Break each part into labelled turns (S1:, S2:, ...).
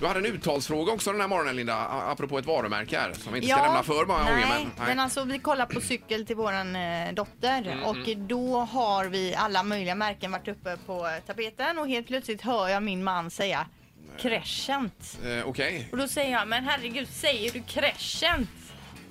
S1: Du hade en uttalsfråga också den här morgonen Linda, a- apropå ett varumärke här som vi inte
S2: Ja,
S1: ska lämna för många
S2: nej,
S1: gånger. Men,
S2: men alltså vi kollar på cykel till våran eh, dotter
S1: Mm,
S2: och då har vi alla möjliga märken varit uppe på eh, tapeten och helt plötsligt hör jag min man säga Crescent.
S1: Eh, Okej,
S2: Och då säger jag, men herregud säger du Crescent?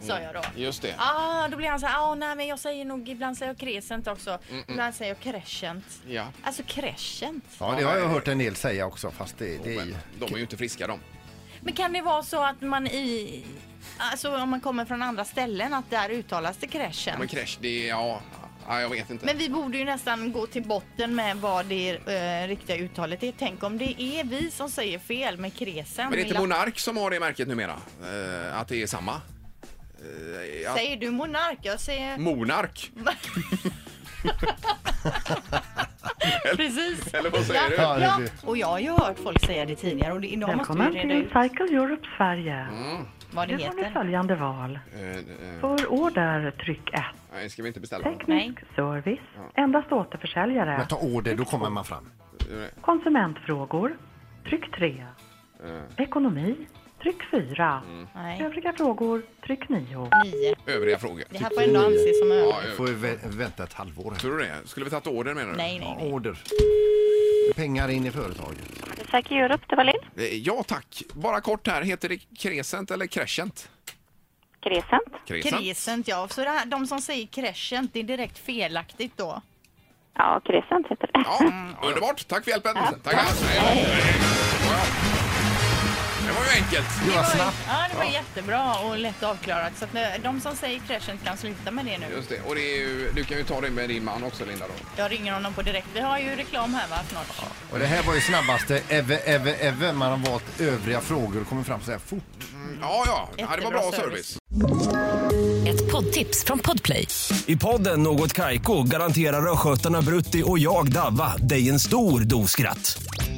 S2: Sa
S1: Mm.
S2: jag då.
S1: just det.
S2: Ah, då blir han så här, ah, nej men jag säger nog, ibland säger jag Crescent
S1: Mm,
S2: också. Ibland säger jag Crescent.
S1: Ja.
S2: Alltså Crescent.
S3: Ja, det har jag hört en del säga också, fast det, det är
S1: Men,
S3: ju...
S1: de är ju inte friska de.
S2: Men kan det vara så att man i... Alltså om man kommer från andra ställen att där uttalas det Crescent?
S1: Men crash, det är, ja, ja, jag vet inte.
S2: Men vi borde ju nästan gå till botten med vad det eh, riktiga uttalet är. Tänk om det är vi som säger fel med kresen.
S1: Men det är inte
S2: Lapp-
S1: Monark som har det märket numera? Eh, att det är samma? Eh, ja.
S2: Säger du monark? Jag
S1: Mm.
S2: säger
S1: Monark?
S2: precis.
S1: Eller vad säger du?
S3: Ja, det
S2: Ja,
S3: blir-
S2: och jag har ju hört folk säga det tidigare och det, idag
S4: Välkommen
S2: måste vi reda
S4: till Mm.
S2: ut
S4: Cycle Europe Sverige.
S2: vad det
S4: Nu får ni
S2: heter.
S4: följande val.
S1: Eh, eh,
S4: För order tryck 1.
S1: nej, ska vi inte beställa?
S4: Teknisk
S2: Nej.
S4: service. Endast återförsäljare.
S3: Men ta order, då kommer man fram.
S4: Konsumentfrågor. Tryck 3. Mm. Ekonomi. Tryck 4.
S2: Nej,
S4: Övriga frågor. Tryck 9.
S2: nio.
S1: Övriga frågor.
S2: Det här får ändå anses som
S1: Ja,
S2: över.
S1: ö-
S3: Får vi vä- vänta ett halvår.
S1: Tror du det? Skulle vi tagit order menar du?
S2: Nej, nej,
S3: Ja,
S2: nej.
S3: order. Pengar in i företaget.
S5: Säker Europe, det var Linn.
S1: Eh, Ja tack. Bara kort här, heter det Crescent eller Crescent?
S5: Crescent.
S2: Crescent, ja. Så det här, de som säger crescent, det är direkt felaktigt då.
S5: Ja, Crescent heter det.
S1: Ja, mm, underbart. Tack för hjälpen. Tack. Hej. Det var ju enkelt.
S3: Det var snabbt.
S2: Ja, det var jättebra och lätt avklarat. Så att nu- de som säger crescent kan sluta med det nu.
S1: Just det. Och det är ju, du kan ju ta det med din man också Linda då.
S2: Jag ringer honom på direkt. Vi har ju reklam här va, snart.
S3: Och det här var ju snabbaste ever, ever, ever. Man har valt övriga frågor och kommer fram så här fort.
S1: Ja, ja. ja det var
S2: Jättebra
S1: bra
S2: service.
S1: service.
S6: Ett poddtips från Podplay.
S7: I podden Något Kaiko garanterar östgötarna Brutti och jag, Davva, dig en stor dos skratt.